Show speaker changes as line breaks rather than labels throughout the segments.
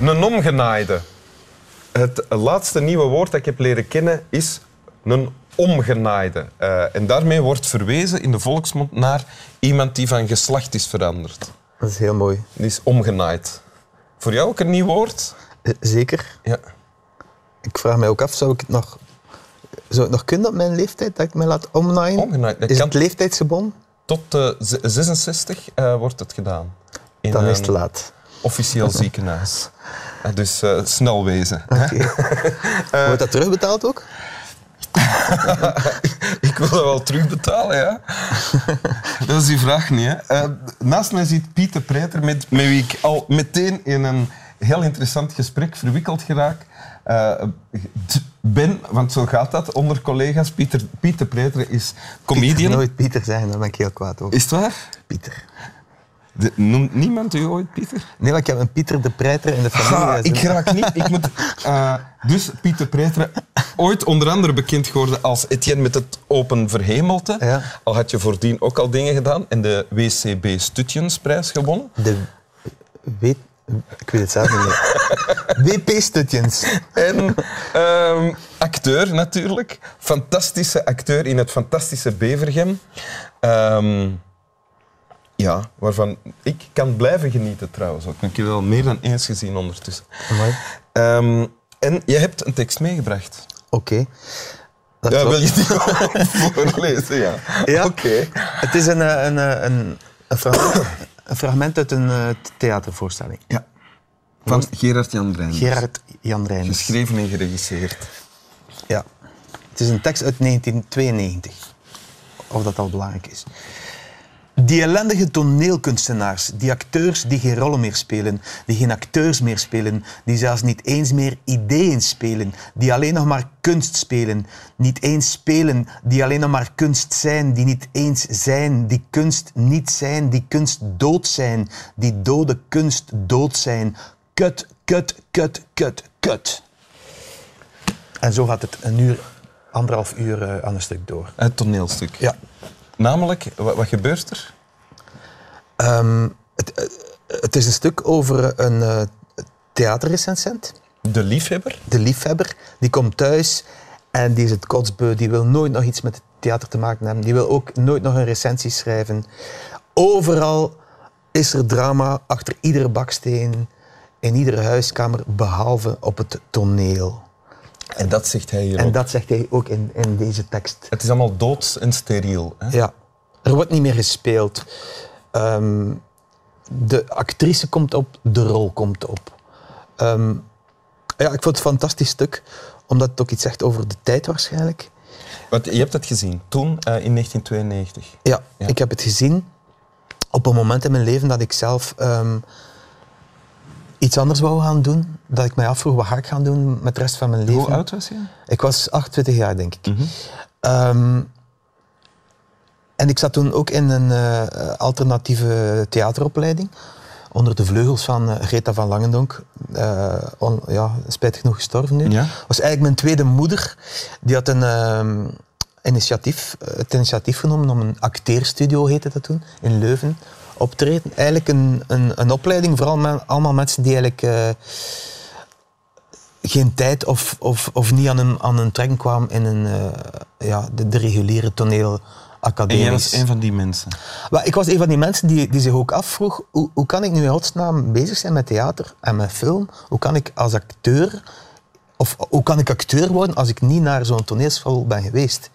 omgenaaide. Het laatste nieuwe woord dat ik heb leren kennen is een omgenaaide. Eh, en daarmee wordt verwezen in de volksmond naar iemand die van geslacht is veranderd.
Dat is heel mooi.
Die is omgenaaid. Voor jou ook een nieuw woord?
Eh, Zeker.
Ja.
Ik vraag mij ook af, zou ik het nog, zou het nog kunnen op mijn leeftijd, dat ik me laat omnaaien?
Omgenaaid. Dat
Is
Oh, kan
het leeftijdsgebonden?
tot de z- 66 eh, wordt het gedaan. In
Dan is het
een
te laat.
officieel ziekenhuis. Eh, Dus eh, snel wezen. hè.
Wordt dat terugbetaald ook?
Eh, Ik wil dat wel terugbetalen, ja. Dat is die vraag niet, hè. Eh, naast mij zit Piet de Preter, met, met wie ik al meteen in een heel interessant gesprek verwikkeld geraak. eh, d- ben, want zo gaat dat, onder collega's. Pieter, Piet de Preter is
Pieter,
comedian.
nooit Pieter zijn, daar ben ik heel kwaad over.
Is het waar?
Pieter.
De- noemt niemand u ooit Pieter?
Nee, maar ik heb een Pieter de Preiter in de familie.
Ha,
Dat is
Ah, ik
een-
raak niet. Ik moet, eh, dus Pieter Preetre, ooit onder andere bekend geworden als Etienne met het Open Verhemelte.
Ja.
Al had je voordien ook al dingen gedaan en de WCB Studjensprijs gewonnen.
De... Weet... Ik weet het zelf niet meer. WP-stutjens.
En ehm, acteur natuurlijk. Fantastische acteur in het fantastische Bevergem. Ehm, ja, waarvan ik kan blijven genieten trouwens ook. Ik heb je wel meer dan eens gezien ondertussen.
Mooi.
Ehm, en je hebt een tekst meegebracht.
Oké. Dat
Ja,
klopt.
wil je die gewoon voorlezen? Ja.
Ja.
Oké.
Het is een, eh, een, eh, een, een, fragment, een fragment uit een eh, theatervoorstelling.
Ja. Van Gerard Jan Brein.
Gerard Jan Reijmers.
Geschreven en geregisseerd.
Ja. Het is een tekst uit 1992. Of dat al belangrijk is. Die ellendige toneelkunstenaars, die acteurs die geen rollen meer spelen, die geen acteurs meer spelen, die zelfs niet eens meer ideeën spelen, die alleen nog maar kunst spelen, niet eens spelen, die alleen nog maar kunst zijn, die niet eens zijn, die kunst niet zijn, die kunst dood zijn, die dode kunst dood zijn. Kut, kut, kut, kut, kut. En zo gaat het een uur, anderhalf uur eh, aan een stuk door.
Het toneelstuk.
Ja.
Namelijk, wat, wat gebeurt er?
Ehm, het, eh, het is een stuk over een eh, theaterrecensent,
De liefhebber.
de liefhebber, die komt thuis en die is het kotsbeu, die wil nooit nog iets met het theater te maken hebben, die wil ook nooit nog een recensie schrijven. Overal is er drama achter iedere baksteen, in iedere huiskamer, behalve op het toneel.
En dat zegt hij hier
En
ook.
dat zegt hij ook in, in deze tekst.
Het is allemaal doods en steriel. Hè?
Ja, er wordt niet meer gespeeld. Ehm, de actrice komt op, de rol komt op. Ehm, ja, ik vond het een fantastisch stuk, omdat het ook iets zegt over de tijd waarschijnlijk.
Want je hebt het gezien, toen, eh, in 1992.
Ja,
Ja.
ik heb het gezien op een moment in mijn leven dat ik zelf ehm, iets anders wou gaan doen. Dat ik mij afvroeg, wat ga ik gaan doen met de rest van mijn leven?
Hoe oud was je?
Ik was 28 jaar, denk ik. Ehm, en ik zat toen ook in een eh, alternatieve theateropleiding. Onder de vleugels van eh, Greta van Langendonk. Eh, on- ja, spijtig genoeg gestorven nu.
Ja.
Was eigenlijk mijn tweede moeder. Die had een ehm, initiatief, eh, het initiatief genomen om een acteerstudio, heette dat toen, in Leuven optreden. Eigenlijk een, een, een opleiding, vooral met allemaal mensen die eigenlijk... eh, geen tijd of, of, of niet aan een, aan een trekken kwam in een, eh, ja, de, de reguliere
En jij was
toneelacademisch.
een van die mensen.
Maar ik was een van die mensen die, die zich ook afvroeg, hoe, hoe kan ik nu in godsnaam bezig zijn met theater en met film? Hoe kan ik als acteur, of hoe kan ik acteur worden als ik niet naar zo'n toneelschool ben geweest?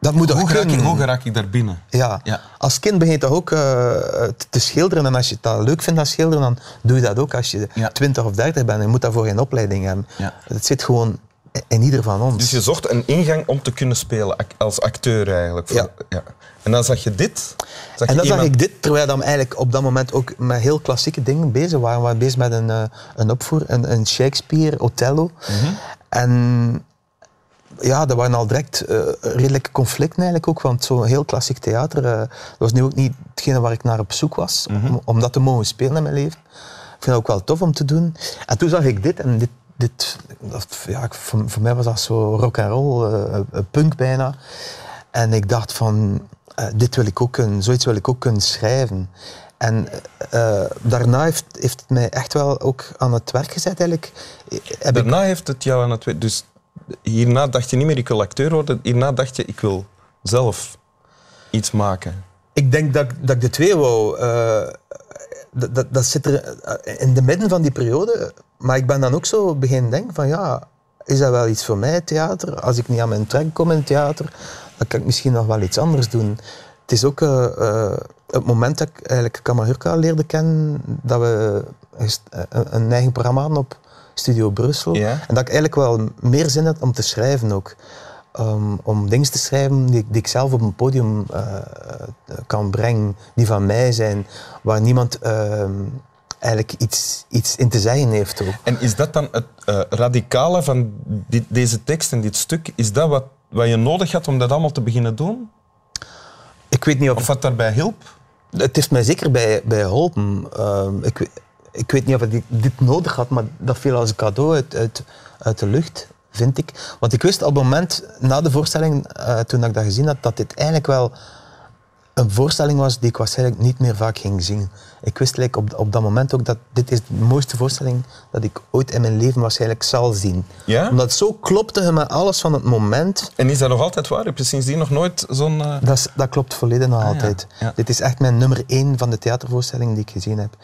Dat moet toch
Hoe raak, ik,
kunnen?
hoe raak ik daar binnen?
Ja.
Ja.
Als kind begin je toch ook eh, te- te schilderen. En als je dat leuk vindt, dat schilderen, dan doe je dat ook als je
Ja.
20 of 30 bent. Je moet daarvoor geen opleiding hebben.
Ja.
Het zit gewoon i- in ieder van ons.
Dus je zocht een ingang om te kunnen spelen, ac- als acteur eigenlijk.
Ja.
En dan zag je dit. Zag
en dan
je
zag
iemand-
ik dit, terwijl dan eigenlijk op dat moment ook met heel klassieke dingen bezig waren. We waren bezig met een, eh, een opvoer, een, een Shakespeare, Othello.
Mhm.
En ja, er waren al direct eh, redelijke conflicten eigenlijk ook, want zo'n heel klassiek theater, eh, dat was nu ook niet hetgene waar ik naar op zoek was, om, om dat te mogen spelen in mijn leven. Ik vind dat ook wel tof om te doen. En toen zag ik dit en dit, dit dat, ja, ik- eh, voor, voor mij was dat zo rock and roll, eh, eh, punk bijna. En ik dacht van, eh, dit wil ik ook kunnen, zoiets wil ik ook kunnen schrijven. En eh, eh, daarna heeft, heeft het mij echt wel ook aan het werk gezet eigenlijk. Eh, Heb ik,
Daarna heeft het jou aan het... we- Dus hierna dacht je niet meer, ik wil acteur worden. Hierna dacht je, ik wil zelf iets maken.
ik denk dat, ik- dat ik de twee wou. eh, dat, dat, dat zit er eh, in de midden van die periode. Maar ik ben dan ook zo begin denken van ja, is dat wel iets voor mij, theater? Als ik niet aan mijn trek kom in het theater, dan kan ik misschien nog wel iets anders doen. Het is ook eh, eh, het moment dat ik eigenlijk Kamahurka leerde kennen, dat we gest- eh, een, een eigen programma hadden op Studio Brussel.
Ja.
En dat ik eigenlijk wel meer zin had om te schrijven ook. Om- om dingen te schrijven die, ik- die ik zelf op een podium eh, eh, kan brengen, die van mij zijn, waar niemand eh, eigenlijk iets, iets in te zeggen heeft ook.
En is dat dan het eh, radicale van dit- deze tekst en dit stuk? Is dat wat, wat je nodig had om dat allemaal te beginnen doen?
Ik weet niet of
Of wat daarbij hielp?
Het heeft mij zeker bij, bij geholpen. Ehm, ik, we- ik weet niet of ik dit nodig had, maar dat viel als een cadeau uit, uit, uit de lucht, vind ik. Want ik wist op het moment, na de voorstelling, eh, toen ik dat gezien had, dat dit eigenlijk wel een voorstelling was die ik waarschijnlijk niet meer vaak ging zien. Ik wist like, op, op dat moment ook dat dit is de mooiste voorstelling dat ik ooit in mijn leven waarschijnlijk zal zien.
Ja?
Omdat het zo klopte met alles van het moment.
En is dat nog altijd waar? Heb je sindsdien nog nooit zo'n... eh,
Dat, is- dat klopt volledig nog altijd.
Ah, ja.
Dit is echt mijn nummer één van de theatervoorstellingen die ik gezien heb.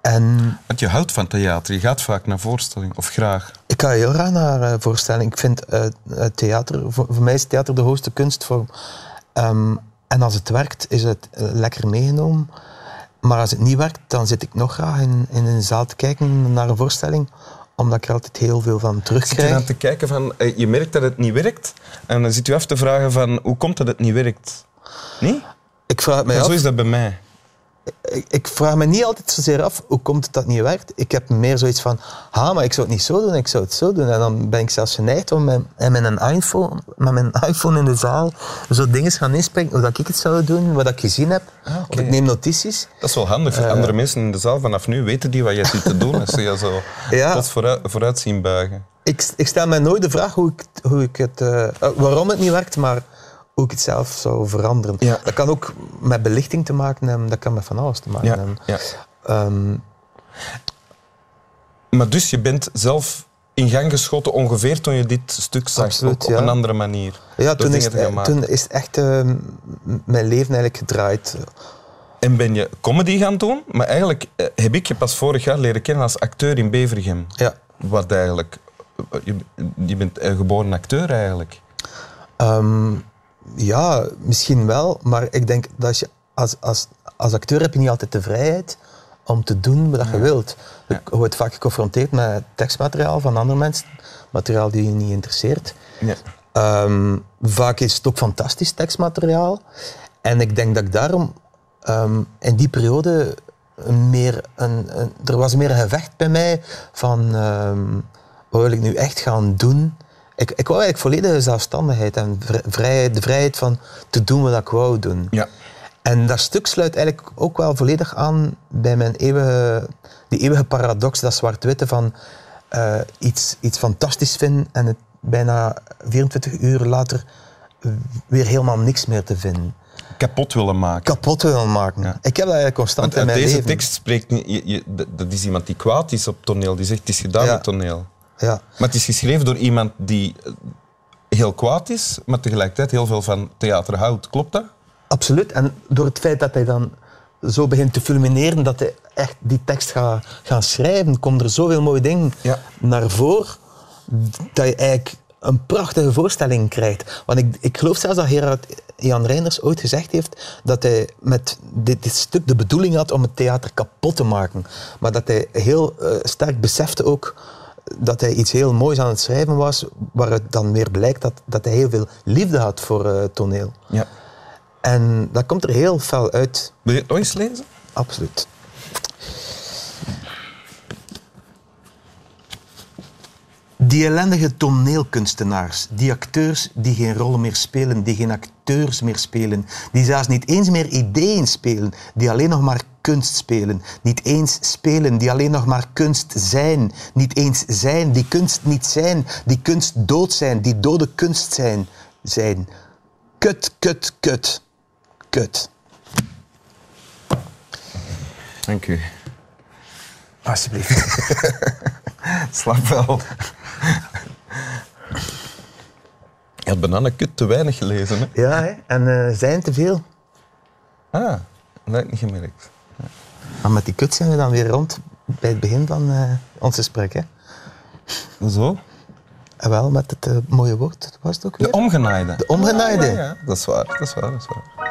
En
Want je houdt van theater, je gaat vaak naar voorstellingen, of graag.
ik ga heel graag naar eh, voorstellingen. Ik vind eh, eh, theater, voor, voor mij is theater de hoogste kunstvorm. Ehm, en als het werkt, is het eh, lekker meegenomen. Maar als het niet werkt, dan zit ik nog graag in, in een zaal te kijken naar een voorstelling, omdat ik er altijd heel veel van
Zit je
terugkrijg.
dan te kijken van, eh, je merkt dat het niet werkt, en dan zit je af te vragen van, hoe komt dat het niet werkt? Nee?
Ik vraag het mij
En
af.
Zo is dat bij mij.
ik, ik vraag me niet altijd zozeer af hoe komt het dat het niet werkt. Ik heb meer zoiets van, ha, maar ik zou het niet zo doen, ik zou het zo doen. En dan ben ik zelfs geneigd om met, en met, een iPhone, met mijn iPhone in de zaal zo dingen gaan inspreken, hoe dat ik het zou doen, wat ik gezien heb.
Ah, oké.
Of ik neem notities.
Dat is wel handig
Eh.
voor andere mensen in de zaal. Vanaf nu weten die wat jij zit te doen. Als ze je zo
Ja.
tot vooruit, vooruit zien buigen.
Ik, ik stel mij nooit de vraag hoe ik, hoe ik het, eh, eh, waarom het niet werkt, maar hoe ik het zelf zou veranderen.
Ja.
Dat kan ook met belichting te maken hebben, dat kan met van alles te maken
Ja,
hebben.
ja.
Ehm,
Maar dus je bent zelf in gang geschoten ongeveer toen je dit stuk zag.
Absoluut,
op op
ja.
een andere manier.
ja,
Door
toen is,
dingen te gaan
het- eh,
maken.
toen is het echt eh, m- mijn leven eigenlijk gedraaid. eh,
En ben je comedy gaan doen. Maar eigenlijk eh, heb ik je pas vorig jaar leren kennen als acteur in Bevergem.
Ja.
Wat eigenlijk... eh, Je, je bent een geboren acteur eigenlijk.
Ehm, ja, misschien wel, maar ik denk dat je als, als, als acteur heb je niet altijd de vrijheid om te doen wat je wilt. Je wordt vaak geconfronteerd met tekstmateriaal van andere mensen, materiaal die je niet interesseert.
Ja.
Ehm, vaak is het ook fantastisch tekstmateriaal. En ik denk dat ik daarom ehm, in die periode een meer een, een- er was meer een gevecht bij mij van ehm, wat wil ik nu echt gaan doen. Ik, ik wou eigenlijk volledige zelfstandigheid en vri- vrijheid, de vrijheid van te doen wat ik wou doen.
ja.
En dat stuk sluit eigenlijk ook wel volledig aan bij mijn eeuwige, die eeuwige paradox, dat zwart-witte van eh, iets, iets fantastisch vinden en het bijna 24 uur later weer helemaal niks meer te vinden.
Kapot willen maken.
Kapot willen maken.
Ja.
Ik heb dat eigenlijk
Want
constant in
uit
mijn
deze
leven.
tekst spreekt niet. je- je- d- dat is iemand die kwaad is op toneel. Die zegt: het is gedaan
Ja.
op toneel.
Ja.
Maar het is geschreven door iemand die eh, heel kwaad is, maar tegelijkertijd heel veel van theater houdt. Klopt dat?
Absoluut. En door het feit dat hij dan zo begint te fulmineren, dat hij echt die tekst gaat gaan schrijven, komen er zoveel mooie dingen
Ja.
naar voren, dat je eigenlijk een prachtige voorstelling krijgt. Want ik, ik geloof zelfs dat Gerard Jan Reinders ooit gezegd heeft dat hij met dit, dit stuk de bedoeling had om het theater kapot te maken. Maar dat hij heel eh, sterk besefte ook dat hij iets heel moois aan het schrijven was, waaruit dan weer blijkt dat, dat hij heel veel liefde had voor eh, toneel.
Ja.
En dat komt er heel fel uit,
Wil je het nog eens lezen?
absoluut. Die ellendige toneelkunstenaars, die acteurs die geen rollen meer spelen, die geen acteurs meer spelen, die zelfs niet eens meer ideeën spelen, die alleen nog maar kunst spelen, niet eens spelen, die alleen nog maar kunst zijn, niet eens zijn, die kunst niet zijn, die kunst dood zijn, die dode kunst zijn, zijn. Kut, kut, kut. kut.
Dank u.
Alsjeblieft.
Slaap wel. Je had bananenkut te weinig gelezen, hè?
ja, hè? en eh, zijn te veel.
Ah, dat heb ik niet gemerkt.
Maar met die kut zijn we dan weer rond bij het begin van eh, ons gesprek. Hè?
Zo?
En wel met het eh, mooie woord, was het ook weer?
De omgenaaide.
De omgenaaide.
Ja, ja, ja. Dat is waar, dat is waar, dat is waar.